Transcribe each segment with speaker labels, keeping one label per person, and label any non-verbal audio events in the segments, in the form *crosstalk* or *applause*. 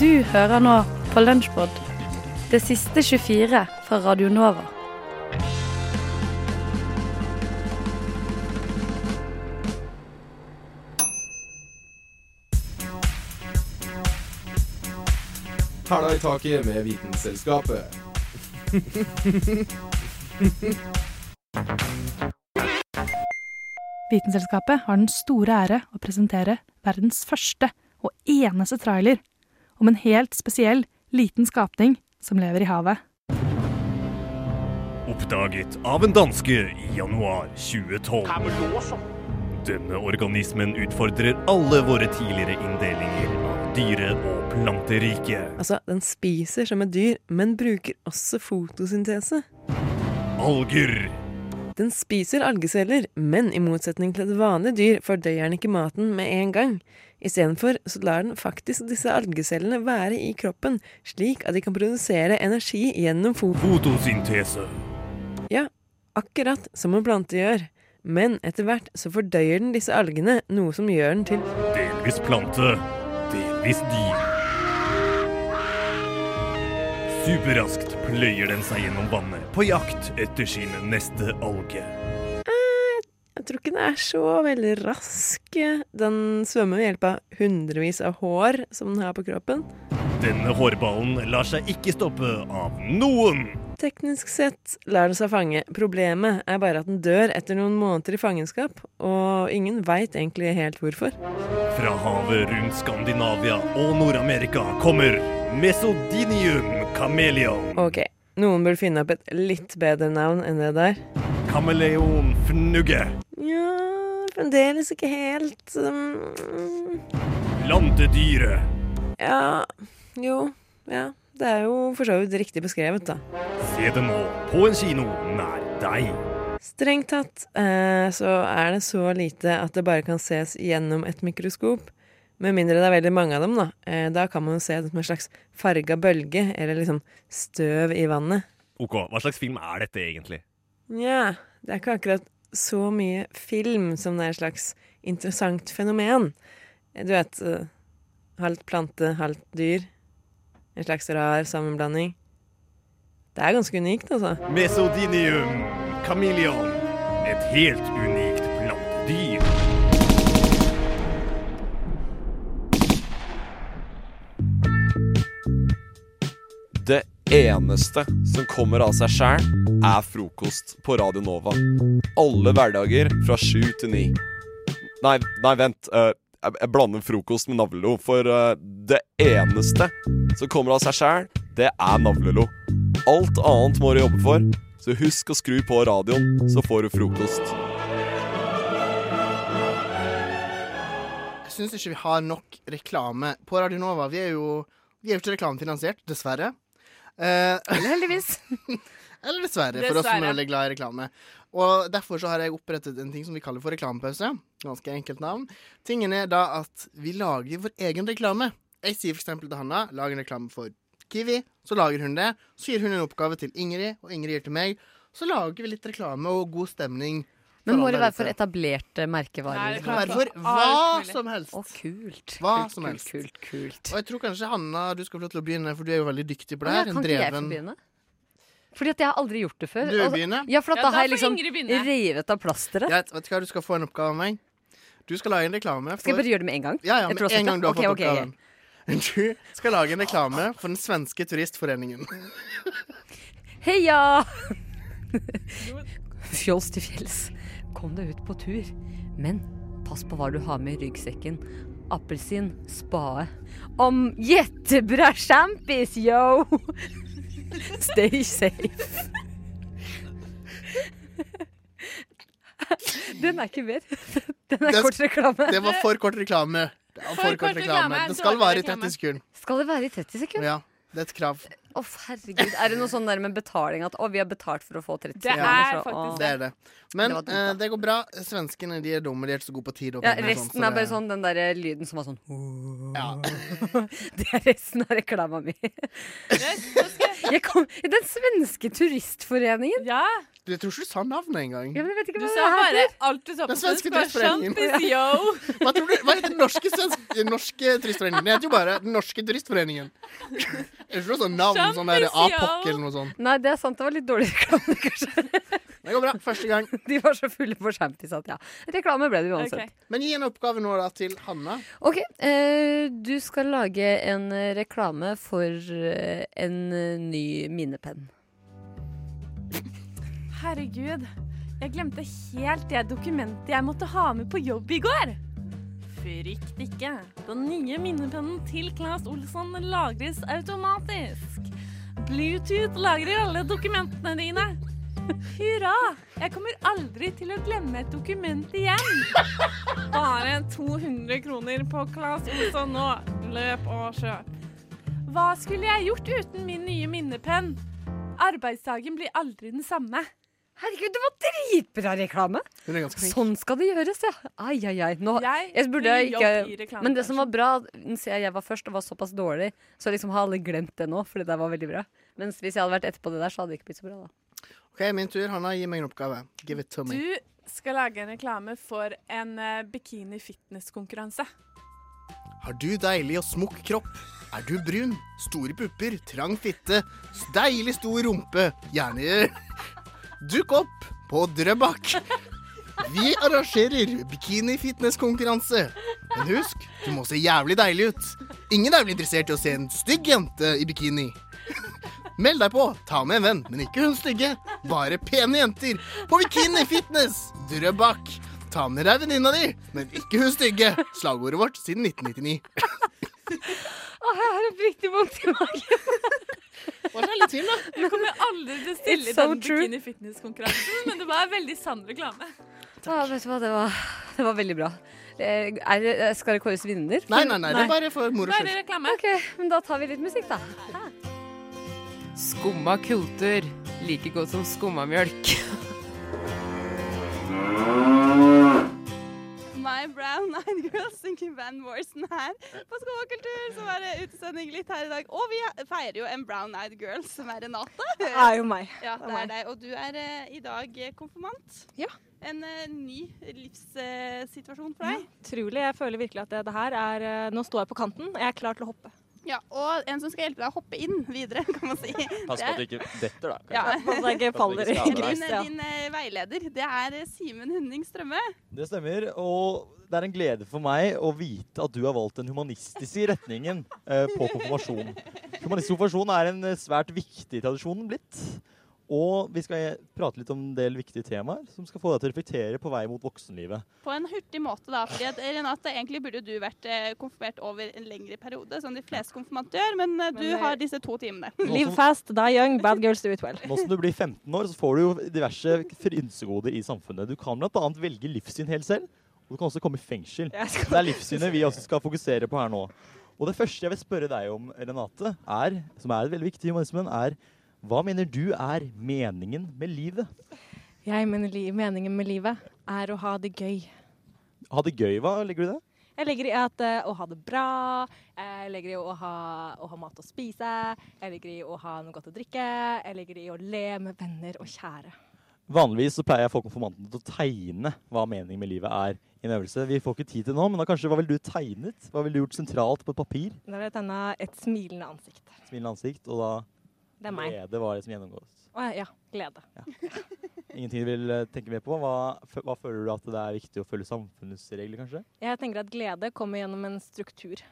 Speaker 1: Du hører nå på Lunsjpod, det siste 24 fra Radio Nova.
Speaker 2: Hæla i taket med Vitenselskapet.
Speaker 3: Vitenselskapet har den store ære å presentere verdens første og eneste trailer om en helt spesiell liten skapning som lever i havet.
Speaker 4: Oppdaget av en danske i januar 2012. Denne organismen utfordrer alle våre tidligere inndelinger av dyre- og planteriket.
Speaker 5: Altså, den spiser som et dyr, men bruker også fotosyntese.
Speaker 4: Alger.
Speaker 5: Den spiser algeceller, men i motsetning til et vanlig dyr fordøyer den ikke maten med en gang. Istedenfor så lar den faktisk disse algecellene være i kroppen, slik at de kan produsere energi gjennom fot...
Speaker 4: Fotosyntese.
Speaker 5: Ja, akkurat som en plante gjør. Men etter hvert så fordøyer den disse algene, noe som gjør den til
Speaker 4: Delvis plante. Delvis dyr. Superraskt pløyer den seg gjennom vannet på jakt etter sin neste alge.
Speaker 5: Jeg tror ikke den er så veldig rask. Den svømmer ved hjelp av hundrevis av hår som den har på kroppen.
Speaker 4: Denne hårballen lar seg ikke stoppe av noen.
Speaker 5: Teknisk sett lar den seg fange. Problemet er bare at den dør etter noen måneder i fangenskap, og ingen veit egentlig helt hvorfor.
Speaker 4: Fra havet rundt Skandinavia og Nord-Amerika kommer Mesodinium chameleon.
Speaker 5: Ok, noen burde finne opp et litt bedre navn enn det der.
Speaker 4: Kameleon fnugge.
Speaker 5: Nja, fremdeles ikke helt um,
Speaker 4: Plantedyret.
Speaker 5: Ja, jo, ja. Det er jo for så vidt riktig beskrevet, da.
Speaker 4: Se det nå på en kino nær deg.
Speaker 5: Strengt tatt eh, så er det så lite at det bare kan ses gjennom et mikroskop. Med mindre det er veldig mange av dem, da. Eh, da kan man jo se det som en slags farga bølge, eller liksom støv i vannet.
Speaker 4: Ok, hva slags film er dette egentlig?
Speaker 5: Nja, det er ikke akkurat så mye film som det er et slags interessant fenomen. Eh, Du vet eh, Halvt plante, halvt dyr. En slags rar sammenblanding. Det er ganske unikt, altså.
Speaker 4: Mesodinium chameleon. Et helt unikt plantedyr.
Speaker 6: Det eneste som kommer av seg sjæl, er frokost på Radio Nova. Alle hverdager fra sju til ni. Nei, nei vent. eh, jeg jeg blander frokost med navlelo, for eh, det eneste som kommer av seg sjæl, det er navlelo. Alt annet må du jobbe for, så husk å skru på radioen, så får du frokost.
Speaker 7: Jeg syns ikke vi har nok reklame på Radionova. Vi er jo, vi er jo ikke reklamefinansiert, dessverre. Eh,
Speaker 8: Eller heldigvis.
Speaker 7: *laughs* eller dessverre, for oss som er
Speaker 8: Dessverre.
Speaker 7: veldig glad i reklame. Og Derfor så har jeg opprettet en ting som vi kaller for reklamepause. Ganske enkelt navn. Tingen er da at vi lager vår egen reklame. Jeg sier f.eks. til Hanna lag en reklame for Kiwi. Så lager hun det. Så gir hun en oppgave til Ingrid, og Ingrid gir til meg. Så lager vi litt reklame og god stemning.
Speaker 8: Men må
Speaker 7: alle
Speaker 8: det være
Speaker 7: disse.
Speaker 8: for etablerte merkevarer?
Speaker 7: Det kan være for
Speaker 9: Alt
Speaker 7: hva
Speaker 9: mulig.
Speaker 7: som helst.
Speaker 8: Å, kult.
Speaker 7: Hva
Speaker 8: kult,
Speaker 7: som helst.
Speaker 8: Kult, kult,
Speaker 7: Og
Speaker 8: kult.
Speaker 7: jeg tror kanskje Hanna, du skal få lov til å begynne, for du er jo veldig dyktig på
Speaker 8: Å,
Speaker 7: det
Speaker 8: ja,
Speaker 7: her.
Speaker 8: kan
Speaker 7: En
Speaker 8: ikke jeg få
Speaker 7: dreven
Speaker 8: begynne? Fordi at jeg har aldri gjort det før.
Speaker 7: Du
Speaker 8: Altså,
Speaker 7: begynner.
Speaker 8: Ja, for at
Speaker 9: Ja,
Speaker 8: da
Speaker 9: da
Speaker 8: har jeg
Speaker 9: får
Speaker 8: liksom
Speaker 9: Ingrid begynne.
Speaker 8: revet av plasteret.
Speaker 7: Greit, vet du hva, du skal få en oppgave av meg. Du skal lage en reklame
Speaker 8: Skal jeg
Speaker 7: for
Speaker 8: bare gjøre det med en gang?
Speaker 7: Ja, ja,
Speaker 8: Jeg
Speaker 7: med
Speaker 8: tror også
Speaker 7: en gang du har
Speaker 8: Ok,
Speaker 7: fått
Speaker 8: ok, ok.
Speaker 7: oppgaven. *laughs* Du skal lage en reklame for den svenske turistforeningen.
Speaker 8: Heia! Fjols til fjells. Kom deg ut på tur. Men pass på hva du har med i ryggsekken. Appelsin, spade. Om jettebra sjampis, yo! *laughs* Stay safe. Den er ikke mer. Den
Speaker 7: Det
Speaker 8: er
Speaker 7: er-
Speaker 8: kort reklame.
Speaker 7: Det var for kort reklame. Det var for kort reklame. Den skal vare i 30 sekunder.
Speaker 8: Skal det være i 30 sekunder?
Speaker 7: Ja, det er et krav.
Speaker 8: Å, herregud. Er det noe sånn der med betaling at å, vi har betalt for å få 30
Speaker 9: Det
Speaker 8: sekunder?
Speaker 9: er
Speaker 8: så, å.
Speaker 9: faktisk
Speaker 7: Det er det. Men
Speaker 8: Det var
Speaker 7: det,
Speaker 8: dumt, da.
Speaker 7: det går bra. Svenskene de er dumme. De er ikke så gode på tid. og
Speaker 8: Ja,
Speaker 7: penger og sånt,
Speaker 8: resten
Speaker 7: så
Speaker 8: er bare
Speaker 7: det-
Speaker 8: sånn den derre lyden som var sånn
Speaker 7: Ja.
Speaker 8: *laughs* Det er resten av reklama mi. Jeg kom, den svenske turistforeningen.
Speaker 9: Ja,
Speaker 7: Du, jeg tror ikke du sa navnet engang.
Speaker 8: Ja, men jeg vet ikke
Speaker 9: Du
Speaker 8: hva
Speaker 9: sa
Speaker 8: det
Speaker 9: bare
Speaker 8: heter.
Speaker 9: alt du sa på
Speaker 7: Den svenske
Speaker 9: svensk. Bare
Speaker 7: turistforeningen.
Speaker 9: Champis, yo!
Speaker 7: Hva, tror du, hva heter den norske, svensk- den norske turistforeningen? Den heter jo bare Den norske turistforeningen. Er det ikke noe sånn navn? Sånn der
Speaker 9: Champis, ja.
Speaker 7: Apok eller noe sånt.
Speaker 8: Nei, det er sant. Det var litt dårlig reklame, *laughs* kanskje.
Speaker 7: Det går bra. Første gang.
Speaker 8: De var så fulle på shampies at ja. Reklame ble det uansett.
Speaker 9: Ok.
Speaker 7: Men gi en oppgave nå da til Hanna.
Speaker 8: Ok, eh, du skal lage en eh, reklame for eh, en eh, ny minnepenn.
Speaker 9: Herregud, jeg glemte helt det dokumentet jeg måtte ha med på jobb i går. Frykt ikke. Den nye minnepennen til Claes Olsson lagres automatisk. Bluetooth lagrer alle dokumentene dine. Hurra! Jeg kommer aldri til å glemme et dokument igjen. Bare 200 kroner på Claes Olsson nå. Løp og kjøp. Hva skulle jeg gjort uten min nye minnepenn? Arbeidsdagen blir aldri den samme.
Speaker 8: Herregud, det var dritbra reklame!
Speaker 7: Hun er ganske flink.
Speaker 8: Sånn skal det gjøres, ja. Ai, ai, ai. Nå,
Speaker 9: Jeg,
Speaker 8: jeg burde
Speaker 9: vil
Speaker 8: ikke
Speaker 9: jobbe i reklamebransjen.
Speaker 8: Men det som var bra, nå ser jeg jeg var først og var såpass dårlig, så liksom har alle glemt det nå, for det der var veldig bra. Mens hvis jeg hadde vært etterpå det der, så hadde det ikke blitt så bra, da.
Speaker 7: OK, min tur. Hanna, gi meg en oppgave. Give it to me.
Speaker 9: Du skal lage en reklame for en eh, bikini fitness-konkurranse.
Speaker 7: Har du deilig og smukk kropp? Er du brun? Store pupper? Trang fitte? s- Deilig stor rumpe? Gjerne *laughs* Dukk opp på Drøbak. Vi arrangerer bikini-fitness-konkurranse. Men husk, du må se jævlig deilig ut. Ingen er vel interessert i å se en stygg jente i bikini. Meld deg på. Ta med en venn, men ikke hun stygge. Bare pene jenter på Bikini Fitness Drøbak. Ta med deg venninna di, men ikke hun stygge. Slagordet vårt siden 1999.
Speaker 8: Åh, *laughs* jeg har oppriktig vondt i magen.
Speaker 7: Hva er det til, da?
Speaker 9: Jeg kommer aldri til å stille i
Speaker 8: *laughs* It's so
Speaker 9: den
Speaker 8: true.
Speaker 9: bikini fitness-konkurransen, men det var en veldig sann reklame.
Speaker 8: Ah, vet du hva, det var, det var veldig bra. Eh, Er det, skal det kåres vinner?
Speaker 7: Nei, nei, nei, det er bare for moro
Speaker 9: Hva er det
Speaker 7: skyld.
Speaker 8: *laughs*
Speaker 9: reklame?
Speaker 8: OK, men da tar vi litt musikk, da.
Speaker 10: Skumma kultur. Like godt som skumma mjølk.
Speaker 11: *laughs* My Brown Nine Girls synger Van Morrison her på Skomakultur, som er eh, utesending litt her i dag. Og vi he- feirer jo en Brown Eyed Girl, som er Renate. Det er jo meg. Ja, det er deg. Og du er eh, i dag eh, konfirmant.
Speaker 10: Ja.
Speaker 11: En eh, ny livssituasjon for deg.
Speaker 9: Utrolig. Jeg føler virkelig at det, her er Nå står jeg på kanten. Jeg er klar til å hoppe.
Speaker 11: Ja, og en som skal hjelpe deg å hoppe inn videre, *laughs* kan man si.
Speaker 12: Pass på
Speaker 11: *laughs*
Speaker 12: at du ikke detter, da. kanskje.
Speaker 9: At jeg ikke
Speaker 12: faller i
Speaker 11: Din,
Speaker 12: Nice,
Speaker 11: din eh, veileder, det er eh, Simen Hunning Strømme.
Speaker 12: Det stemmer. Og det er en glede for meg å vite at du har valgt den humanistiske retningen eh, på konfirmasjon. Humanistisk konfirmasjon er en eh, svært viktig tradisjon blitt. Og vi skal prate litt om en del viktige temaer som skal få deg til å reflektere på vei mot voksenlivet.
Speaker 11: På en hurtig måte, da. fordi at Renate, egentlig burde du vært eh, konfirmert over en lengre periode, som de fleste konfirmanter gjør, men eh, du
Speaker 9: Men, eh,
Speaker 11: har disse to timene.
Speaker 12: Nå som,
Speaker 9: fast, die young, bad girls do it well.
Speaker 12: nå som du blir 15 år, så får du jo diverse frynsegoder i samfunnet. Du kan bl.a. velge livssyn helt selv, og du kan også komme i fengsel. Det er livssynet vi også skal fokusere på her nå. Og det første jeg vil spørre deg om, Renate, er, som er veldig viktig i humanismen, er hva mener du er meningen med livet?
Speaker 9: Jeg mener meningen med livet er å ha det gøy.
Speaker 12: Ha det gøy, hva legger du i det?
Speaker 9: Jeg legger i at eh, å ha det bra, jeg legger i å ha, å ha mat å spise, jeg legger i å ha noe godt å drikke, jeg legger i å le med venner og kjære.
Speaker 12: Vanligvis så pleier jeg å få konfirmantene til å tegne hva meningen med livet er i en øvelse. Vi får ikke tid til nå, men da kanskje hva ville du tegnet? Hva ville du gjort sentralt på et papir?
Speaker 9: Da vil jeg tegne et smilende ansikt.
Speaker 12: Smilende ansikt, og da
Speaker 9: Det er meg.
Speaker 12: glede var det som gjennomgås.
Speaker 9: Å, ja, glede.
Speaker 12: Ingenting du vil eh, tenke mer på? Hva, fø- hva føler du at det er viktig å følge samfunnets regler, kanskje?
Speaker 9: Jeg tenker at glede kommer gjennom en struktur.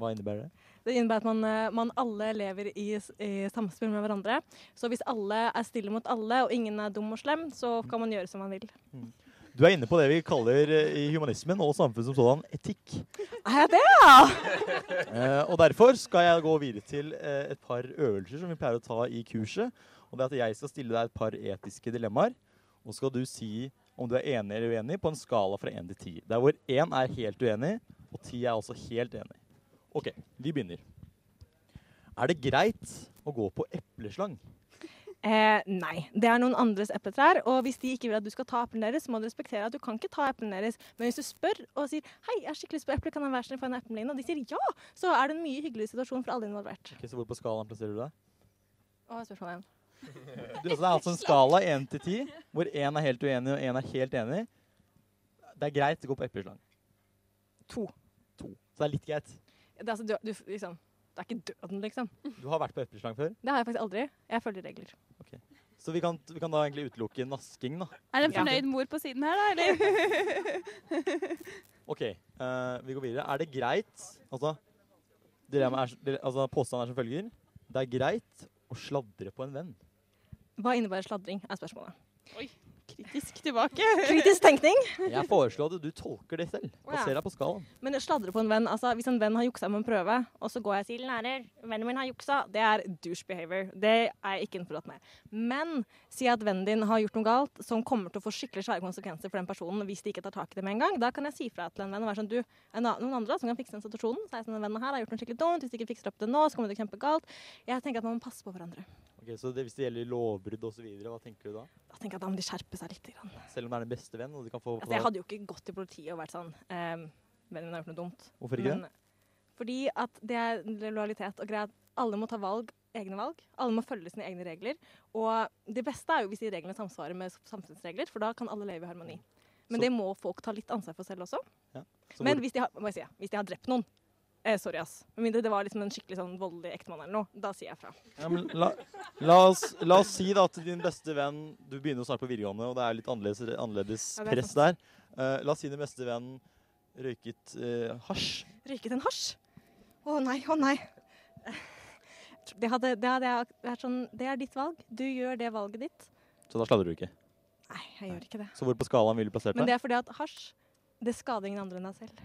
Speaker 12: Hva innebærer det?
Speaker 9: Det innebærer at man, eh, man alle lever i, s- i samspill med hverandre. Så hvis alle er stille mot alle, og ingen er dum og slem, så kan man gjøre som man vil.
Speaker 12: Du er inne på det vi kaller eh, i humanismen og samfunnet som sådan etikk.
Speaker 9: Er jeg det?
Speaker 12: Eh, og derfor skal jeg gå videre til eh, et par øvelser som vi pleier å ta i kurset. Og det er at jeg skal stille deg et par etiske dilemmaer. Og så skal du si om du er enig eller uenig på en skala fra 1 til 10. Der hvor 1 er helt uenig, og 10 er også helt enig. OK, vi begynner. Er det greit å gå på epleslang?
Speaker 9: Eh, nei. Det er noen andres epletrær, og hvis de ikke vil at du skal ta eplene deres, så må du respektere at du kan ikke ta eplene deres. Men hvis du spør og sier 'hei, jeg har skikkelig lyst på eple, kan jeg være snill få en epleline', og de sier ja, så er det en mye hyggeligere situasjon for alle involvert.
Speaker 13: *laughs*
Speaker 12: Ok, så hvor på skalaen plasserer du deg?
Speaker 9: Og spørsmålet igjen.
Speaker 12: Du, altså, det er altså en skala 1 til 10, hvor 1 er helt uenig og 1 er helt enig. Det er greit å gå på epleslang.
Speaker 13: To.
Speaker 12: To. Så det er litt greit.
Speaker 13: Det er, altså, dø- du, liksom, det er ikke døden, liksom.
Speaker 12: Du har vært på epleslang før,
Speaker 13: Det har jeg faktisk aldri. Jeg følger regler.
Speaker 12: så vi kan, vi kan da egentlig utelukke nasking, da.
Speaker 11: *laughs* Er det en fornøyd mor på siden her,
Speaker 13: *laughs*
Speaker 11: da? Eller?
Speaker 12: OK, eh, vi går videre. Er det greit Altså, dilemma er, dile- altså påstanden er som følger. Det er greit å sladre på en venn.
Speaker 13: Hva innebærer sladring, er spørsmålet.
Speaker 11: Oi, kritisk
Speaker 13: *laughs*
Speaker 11: tilbake.
Speaker 13: Kritisk tenkning.
Speaker 12: Jeg foreslår at du tolker det selv.
Speaker 13: Å, ja.
Speaker 12: Plasser deg på skalaen.
Speaker 13: Men jeg sladrer på en venn. Altså, hvis en venn har juksa med en prøve, og så går jeg og sier 'lærer, vennen min har juksa', det er douche behavior. Det er jeg ikke innforstått med. Men si at vennen din har gjort noe galt som kommer til å få skikkelig svære konsekvenser for den personen hvis de ikke tar tak i det med en gang. Da kan jeg si fra til en venn og være sånn 'du, er det noen andre som kan fikse den situasjonen?' Så er jeg sånn, 'Den vennen her har gjort noe skikkelig dumt. Hvis de ikke fikser opp det nå, så kommer det til å kjempe galt. Jeg tenker at man må passe på hverandre.
Speaker 12: Ok, så det, Hvis det gjelder lovbrudd osv., hva tenker du da?
Speaker 13: Da tenker jeg at da må de skjerpe seg litt. Grann.
Speaker 12: Selv om det er den beste venn? og du kan få...
Speaker 13: Altså, jeg hadde jo ikke gått til politiet og vært sånn ehm, Vennen min har gjort noe dumt.
Speaker 12: Hvorfor ikke det?
Speaker 13: Fordi at det er lojalitet og greier at alle må ta valg, egne valg. Alle må følge sine egne regler. Og det beste er jo hvis de reglene samsvarer med samfunnsregler, for da kan alle leve i harmoni. Men
Speaker 12: Så-
Speaker 13: det må folk ta litt ansvar for selv også.
Speaker 12: Ja. Så
Speaker 13: Men
Speaker 12: hvor-
Speaker 13: hvis de, har, må jeg si, hvis de har drept noen eh, Sorry, ass. Med mindre det var liksom en skikkelig sånn voldelig ektemann eller noe. Da sier jeg fra.
Speaker 12: Ja, men *laughs* la, la, oss, la oss si da at din beste venn Du begynner jo snart på videregående, og det er litt annerledes, annerledes
Speaker 13: Ja, det er
Speaker 12: press der. Eh, la oss si din beste venn røyket eh, hasj.
Speaker 13: Røyket en hasj? Å nei, å nei. Det, hadde, det, hadde jeg, vært sånn, det er ditt valg. Du gjør det valget ditt.
Speaker 12: Så da sladrer du ikke.
Speaker 13: Nei, jeg gjør ikke det.
Speaker 12: Så hvor på skalaen ville du plassert
Speaker 13: Men det
Speaker 12: deg?
Speaker 13: er fordi at hasj, det skader ingen andre enn deg selv.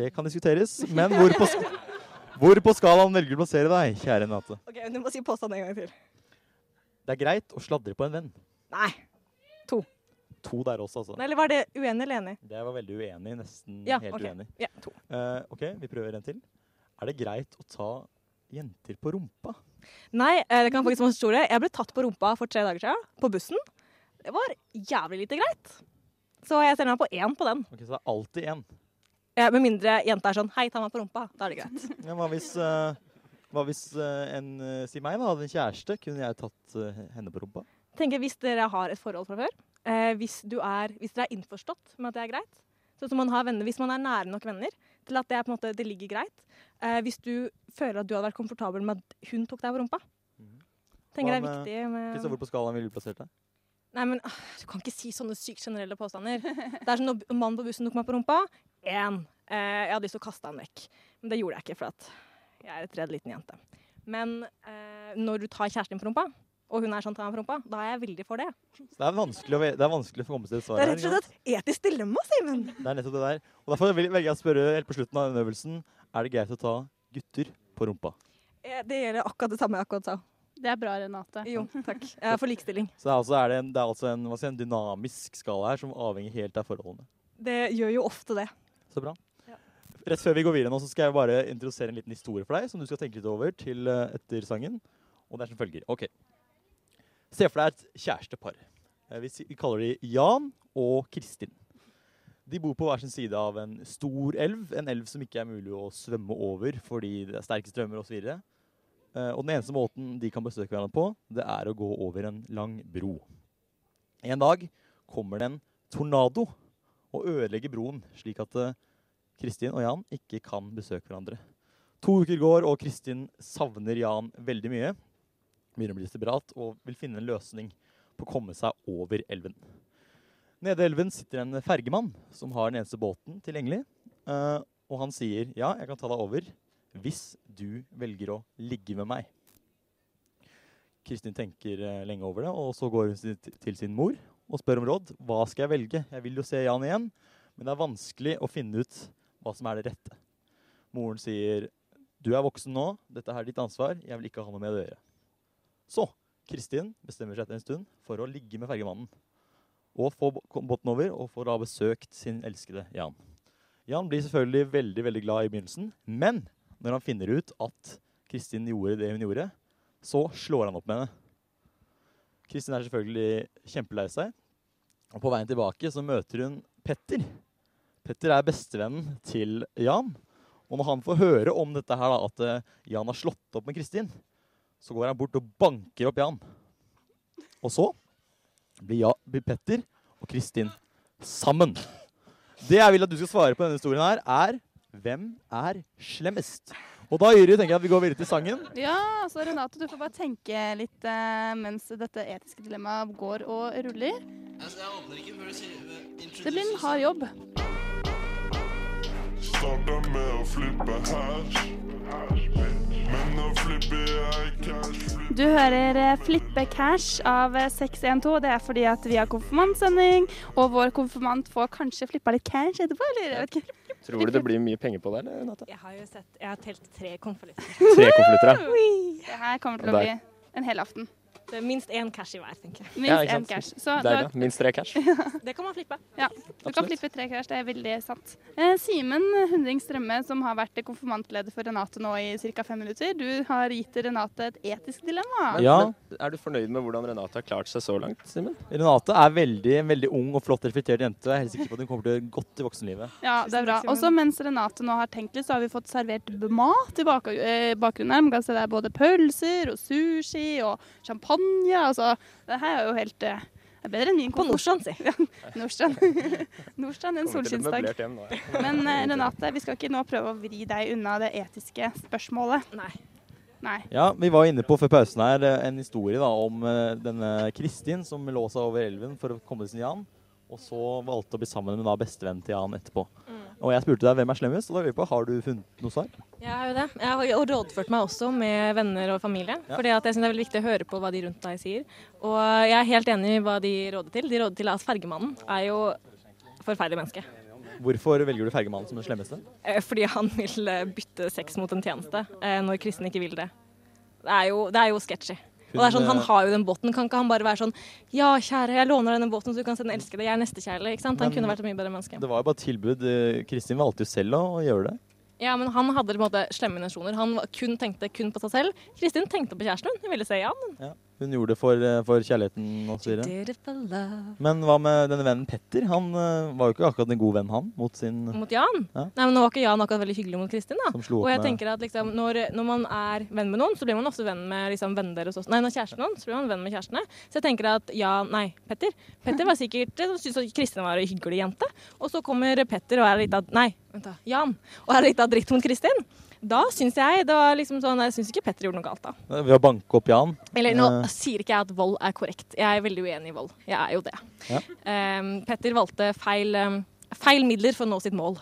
Speaker 12: Det kan diskuteres. Men hvor på, sk hvor på skalaen velger du å plassere deg, kjære Nate?
Speaker 13: Ok, Du må si påstanden en gang til.
Speaker 12: Det er greit å sladre på en venn.
Speaker 13: Nei. To.
Speaker 12: To der også, altså.
Speaker 13: Nei, Eller var det uenig eller enig?
Speaker 12: Det var veldig uenig. Nesten
Speaker 13: Ja,
Speaker 12: helt
Speaker 13: ok.
Speaker 12: uenig.
Speaker 13: Ja, to.
Speaker 12: Eh, OK, vi prøver en til. Er det greit å ta jenter på rumpa?
Speaker 13: Nei, eh, det kan faktisk være en historie. Jeg ble tatt på rumpa for tre dager siden, på bussen. Det var jævlig lite greit. Så jeg sender meg på én på den.
Speaker 12: Ok, Så det er alltid én.
Speaker 13: Eh, Med mindre jenta er sånn 'hei, ta meg på rumpa'. Da er det *laughs* greit.
Speaker 12: Ja, hva hvis, eh, hva hvis eh, en eh, Si meg, da. Hadde en kjæreste. Kunne jeg tatt eh, henne på rumpa?
Speaker 13: tenker hvis dere har et forhold fra før, eh, hvis, du er, hvis dere er innforstått med at det er greit, sånn som man har venner, hvis man er nære nok venner til at det, er på en måte, det ligger greit, eh, hvis du føler at du hadde vært komfortabel med at hun tok deg på rumpa, tenker
Speaker 12: Hva
Speaker 13: jeg det er viktig med...
Speaker 12: Kristian, hvor på skalaen ville du plassert deg?
Speaker 13: Nei, men ah, du kan ikke si sånne sykt generelle påstander. Det er sånn når b- mannen på bussen tok meg på rumpa, én. Eh, jeg hadde lyst til å kaste han vekk. Men det gjorde jeg ikke, for at jeg er et redd liten jente. Men eh, når du tar kjæresten din på rumpa, og hun er sånn, ta meg på rumpa, da er jeg veldig for det.
Speaker 12: Så det, er vanskelig å, ve- det er vanskelig å komme til et svar.
Speaker 13: Det er rett og
Speaker 12: her, ikke sant?
Speaker 13: slett et etisk dilemma, Simen.
Speaker 12: Det er nettopp det der. Og Derfor vil- velger jeg å spørre helt på slutten av denne øvelsen Er det greit å ta gutter på rumpa.
Speaker 13: Eh, Det gjelder akkurat det samme jeg akkurat sa.
Speaker 11: Det er bra, Renate.
Speaker 13: Jo, takk. *laughs* Jeg er for likestilling.
Speaker 12: Så det er altså, er det en, det er altså en, hva skal jeg si, en dynamisk skala her som avhenger helt av forholdene.
Speaker 13: Det gjør jo ofte det.
Speaker 12: Så bra. Rett før vi går videre nå, så skal jeg bare introdusere en liten historie for deg, som du skal tenke litt over til eh, etter sangen. Og det er som følger. Ok. Se for deg et kjærestepar. Eh, Vi si- vi kaller de Jan og Kristin. De bor på hver sin side av en stor elv, en elv som ikke er mulig å svømme over fordi det er sterke strømmer osv. Eh, Og den eneste måten de kan besøke hverandre på, det er å gå over en lang bro. En dag kommer det en tornado og ødelegger broen, slik at eh, Kristin og Jan ikke kan besøke hverandre. To uker går, og Kristin savner Jan veldig mye. Begynner å bli desperat og vil finne en løsning på å komme seg over elven. Nede i elven sitter en fergemann som har den eneste båten tilgjengelig. eh, Og han sier ja, jeg kan ta deg over hvis du velger å ligge med meg. Kristin tenker eh, lenge over det, og så går hun si- til sin mor og spør om råd. Hva skal jeg velge? Jeg vil jo se Jan igjen, men det er vanskelig å finne ut hva som er det rette. Moren sier, du er voksen nå, dette her er ditt ansvar, jeg vil ikke ha noe med det å gjøre. Så, Kristin bestemmer seg etter en stund for å ligge med fergemannen. Og få bå- kom båten over, og får da besøkt sin elskede Jan. Jan blir selvfølgelig veldig, veldig glad i begynnelsen, men når han finner ut at Kristin gjorde det hun gjorde, så slår han opp med henne. Kristin er selvfølgelig kjempelei seg, og på veien tilbake så møter hun Petter. Petter er bestevennen til Jan, og når han får høre om dette her da, at eh, Jan har slått opp med Kristin, Så går han bort og banker opp Jan. Og så blir, ja, blir Petter og Kristin sammen. Det jeg vil at du skal svare på denne historien her, er hvem er slemmest? Og da, Yri, tenker jeg at vi går videre til sangen.
Speaker 11: Ja, så Renate, du får bare tenke litt eh, mens dette etiske dilemmaet går og ruller.
Speaker 7: Jeg åpner ikke før du sier
Speaker 11: Det blir en hard jobb.
Speaker 14: Starta med å flippe hash. Men å flippe er cash.
Speaker 11: Du hører eh, Flippe cash av eh, 612. Det er fordi at vi har konfirmantsending, og vår konfirmant får kanskje flippa litt cash etterpå, eller jeg vet ikke.
Speaker 15: Tror du det blir mye penger på det, eller? Renate?
Speaker 13: Jeg har jo sett Jeg har telt tre konvolutter.
Speaker 15: Tre konvolutter, ja.
Speaker 11: Det her kommer til å bli
Speaker 15: Der.
Speaker 11: en hel aften.
Speaker 13: Det er minst én cash i hver, tenker jeg.
Speaker 11: Minst én cash. Så du har-
Speaker 15: Deilig. Minst tre cash.
Speaker 13: Det kan man flippe.
Speaker 11: Ja, du kan
Speaker 15: Absolutt.
Speaker 11: flippe tre cash, det er veldig sant. Eh, Simen Hundring Strømme, som har vært konfirmantleder for Renate nå i ca. fem minutter, du har gitt Renate et etisk dilemma.
Speaker 15: Men, men, er du fornøyd med hvordan Renate har klart seg så langt, Simen?
Speaker 12: Renate er veldig, en veldig ung og flott reflektert jente. Jeg er helt sikker på at hun kommer til å gjøre godt i voksenlivet.
Speaker 11: Ja, det er bra. Også mens Renate nå har tenkt litt, så har vi fått servert b- mat i bak eh, bakgrunnen her. Man kan se det er både pølser og sushi og champagne. Altså, det her er jo helt eh, det er bedre enn min På Nordstrand, si. *laughs* Ja, *laughs* Nordstrand. Nordstrand en
Speaker 15: Kommer til et møblert
Speaker 11: solskinnsdag.
Speaker 15: hjem nå, jeg.
Speaker 11: Men eh, Renate, vi skal ikke nå prøve å vri deg unna det etiske spørsmålet. Nei. Nei.
Speaker 12: Ja, Vi var inne på før pausen her eh, en historie da, om eh, denne Kristin som lå seg over elven for å komme til sin Jan. Og så valgte å bli sammen med da bestevennen til Jan etterpå.
Speaker 13: Mm.
Speaker 12: Og jeg spurte deg hvem er slemmest, og da lurer jeg på, har du funnet noe svar?
Speaker 13: Jeg har jo det. Jeg har jo rådført meg også med venner og familie.
Speaker 12: Ja.
Speaker 13: Fordi at jeg synes det er veldig viktig å høre på hva de rundt deg sier. Og jeg er helt enig i hva de råder til. De råder til at fergemannen er jo forferdelig menneske.
Speaker 12: Hvorfor velger du fergemannen som den slemmeste?
Speaker 13: Eh, Fordi han vil eh, bytte sex mot en tjeneste eh, når kristen ikke vil det. Det er jo, det er jo sketchy. Og det er sånn,
Speaker 12: Hun,
Speaker 13: Han
Speaker 12: eh,
Speaker 13: har jo den båten, kan ikke han bare være sånn Ja, kjære, jeg låner denne båten, så du kan se den elskede. Jeg er nestekjærlig. ikke sant? Han
Speaker 12: eh, Men-
Speaker 13: kunne vært et mye bedre menneske.
Speaker 12: Det var jo bare et tilbud. eh, Kristin valgte jo selv å å gjøre det.
Speaker 13: Ja, men han hadde på en måte slemme intensjoner. Han var- kun tenkte kun på seg selv. Kristin tenkte på kjæresten hun. Hun ville se Jan.
Speaker 12: Hun gjorde det for, eh, for kjærligheten og så videre. Men hva med denne vennen Petter? Han eh, var jo ikke akkurat en god venn, han, mot sin
Speaker 13: Mot Jan?
Speaker 12: Ja.
Speaker 13: Nei, men nå var ikke Jan akkurat veldig hyggelig mot Kristin, da.
Speaker 12: Som slo
Speaker 13: Og
Speaker 12: opp
Speaker 13: jeg
Speaker 12: med-
Speaker 13: tenker at liksom, når, når man er venn med noen, så blir man ofte venn med liksom, venner deres også. Nei, når kjæresten noen, så blir man venn med kjærestene. Så jeg tenker at ja, nei, Petter. Petter var sikkert eh, syntes at Kristin var en hyggelig jente. Og så kommer Petter og er litt av Nei, vent da. Jan. Og er litt av dritt mot Kristin. Da syns jeg det var liksom sånn Jeg syns ikke Petter gjorde noe galt, da.
Speaker 12: Ved å banke opp Jan.
Speaker 13: Eller nå
Speaker 12: Eh,
Speaker 13: sier ikke jeg at vold er korrekt. Jeg er veldig uenig i vold. Jeg er jo det.
Speaker 12: Ja.
Speaker 13: Em, Petter valgte feil, em, feil midler for å nå sitt mål.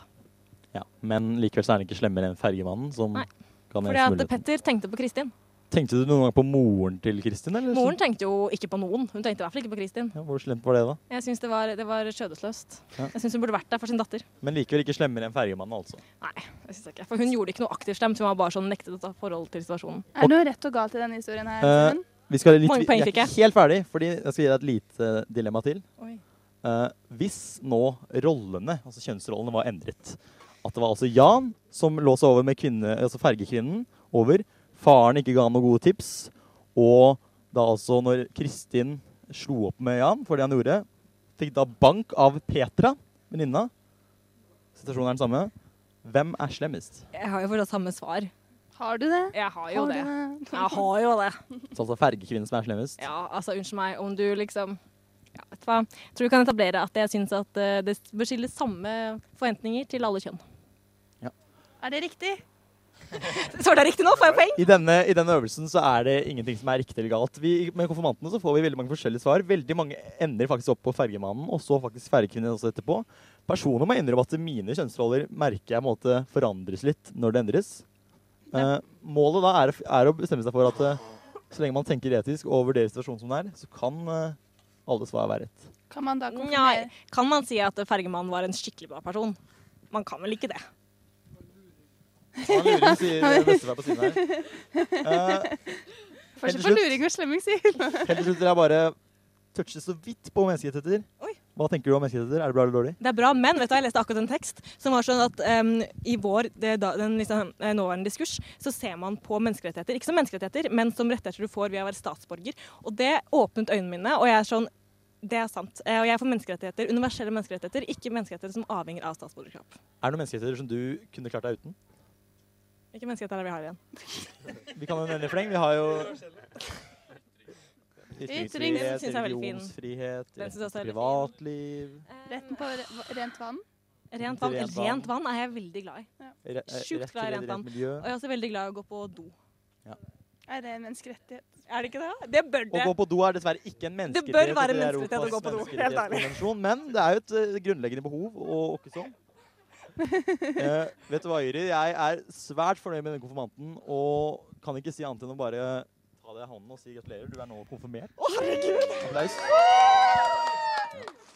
Speaker 12: ja. Men likevel så er han ikke slemmere enn fergemannen. Som
Speaker 13: Nei.
Speaker 12: kan
Speaker 13: Fordi
Speaker 12: gjøre
Speaker 13: at
Speaker 12: muligheten.
Speaker 13: Petter tenkte på Kristin.
Speaker 12: Tenkte du noen gang på moren til Kristin? Eller?
Speaker 13: Moren tenkte jo ikke på noen. Hun tenkte i hvert fall ikke på Kristin.
Speaker 12: Ja, hvor slemt var det, da?
Speaker 13: Jeg syns det var, det var skjødesløst.
Speaker 12: Ja.
Speaker 13: Jeg syns hun burde vært der for sin datter.
Speaker 12: Men likevel ikke slemmere enn fergemannen, altså.
Speaker 13: Nei, det synes jeg ikke. For hun gjorde ikke noe aktivt slemt. Hun var bare sånn nektet å ta forhold til situasjonen.
Speaker 11: Er det noe rett og galt i denne historien her?
Speaker 12: Eh,
Speaker 11: Simen?
Speaker 12: vi skal litt,
Speaker 13: Mange poeng
Speaker 12: jeg er
Speaker 13: fikk
Speaker 12: ikke helt ferdig, fordi jeg skal gi deg et lite dilemma til.
Speaker 13: Oi.
Speaker 12: Eh, hvis nå rollene, altså kjønnsrollene, var endret At det var altså Jan som lå seg over med kvinne, altså fergekvinnen over. Faren ikke ga noen gode tips. Og da altså når Kristin slo opp med Jan for det han gjorde, fikk da bank av Petra, venninna. Situasjonen er den samme. Hvem er slemmest?
Speaker 13: Jeg har jo fortsatt samme svar.
Speaker 11: Har du det?
Speaker 13: Jeg har jo
Speaker 11: Har du
Speaker 13: det.
Speaker 11: det?
Speaker 13: Jeg har jo det.
Speaker 12: Så altså fergekvinnen som er slemmest.
Speaker 13: Ja, altså, unnskyld meg. Om du liksom ja, vet du hva. Jeg tror du kan etablere at jeg syns at eh, det bør skilles samme forventninger til alle kjønn.
Speaker 11: Er det riktig?
Speaker 13: Svarte jeg riktig nå? Får jeg poeng?
Speaker 12: I denne, I denne øvelsen så er det ingenting som er riktig eller galt. Vi, med konfirmantene så får vi veldig mange forskjellige svar. Veldig mange ender faktisk opp på fergemannen, og så faktisk fergekvinnen også etterpå. Personer må innrømme at mine kjønnsroller merker jeg på en måte forandres litt når det endres. Eh, målet da er, å- er å bestemme seg for at eh, så lenge man tenker etisk og vurderer situasjonen som den er, så kan eh, alle svar være *laughs* rett.
Speaker 11: Kan man da
Speaker 13: konfirmere? kan man si at fergemannen var en skikkelig bra person? Man kan vel ikke det?
Speaker 12: Han lurer, sier bestefar på siden her. Eh, helt
Speaker 11: Forskjell
Speaker 12: til
Speaker 11: på
Speaker 12: slutt-
Speaker 11: luring og slemming, sier
Speaker 12: Helt til slutt vil jeg bare touche så vidt på menneskerettigheter. Hva tenker du om menneskerettigheter? Er det bra eller dårlig?
Speaker 13: Det er bra, men vet du, hva, jeg leste akkurat en tekst som var sånn at em, i vår det, da, den, liksom, eh, nåværende diskurs så ser man på menneskerettigheter, ikke som menneskerettigheter, men som rettigheter du får ved å være statsborger. Og det åpnet øynene mine, og jeg er sånn Det er sant. Eh, Og jeg er for menneskerettigheter, universelle menneskerettigheter, ikke menneskerettigheter som avhenger av statsborgerskap.
Speaker 12: Er det noen menneskerettigheter som du kunne klart deg uten?
Speaker 13: Hvilke menneskeretter er det vi har igjen?
Speaker 12: Vi kan jo nevne i fleng. Vi har jo
Speaker 11: Ytringsfrihet,
Speaker 12: Ytringsfrihet,
Speaker 11: synes jeg er veldig fin.
Speaker 12: religionsfrihet,
Speaker 13: Den synes
Speaker 12: retten
Speaker 13: jeg også er
Speaker 12: til
Speaker 13: veldig fin.
Speaker 12: privatliv
Speaker 11: Retten på re- rent
Speaker 13: Rent vann.
Speaker 11: vann.
Speaker 12: Rent vann.
Speaker 13: Rent vann er jeg veldig glad i.
Speaker 12: Re- eh,
Speaker 13: Sjukt glad i
Speaker 12: rett til
Speaker 13: rent
Speaker 12: rent
Speaker 13: vann. Og
Speaker 12: miljø.
Speaker 13: jeg er også veldig glad i å gå på do.
Speaker 11: Er det en menneskerettighet?
Speaker 13: Er det ikke det? Det bør
Speaker 12: Å
Speaker 13: det.
Speaker 12: gå på do er dessverre ikke en
Speaker 13: Det
Speaker 12: menneskerettighet.
Speaker 13: bør være
Speaker 12: etter
Speaker 13: en menneskerettighet å
Speaker 12: Europas
Speaker 13: gå på do, helt ærlig.
Speaker 12: menneskerettighetskonvensjon, Men det er jo et eh, grunnleggende behov, og ikke
Speaker 13: *laughs*
Speaker 12: sånn. Eh, vet du hva, Yri? Jeg er svært fornøyd med denne konfirmanten, og kan ikke si annet enn å bare ta deg i hånden og si gratulerer. Du er nå konfirmert. Applaus.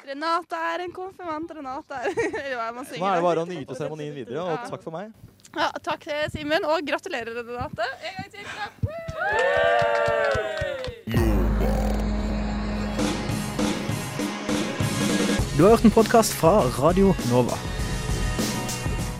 Speaker 11: Renate er en konfirmant, Renate er *laughs* Eller hva er det man
Speaker 12: Nå er det
Speaker 11: synger? da?
Speaker 12: bare å nyte seremonien videre, og takk for meg.
Speaker 11: Ja, takk til Simen, og gratulerer, Renate. En gang til. klapp.
Speaker 16: Du har hørt en podkast fra Radio Nova.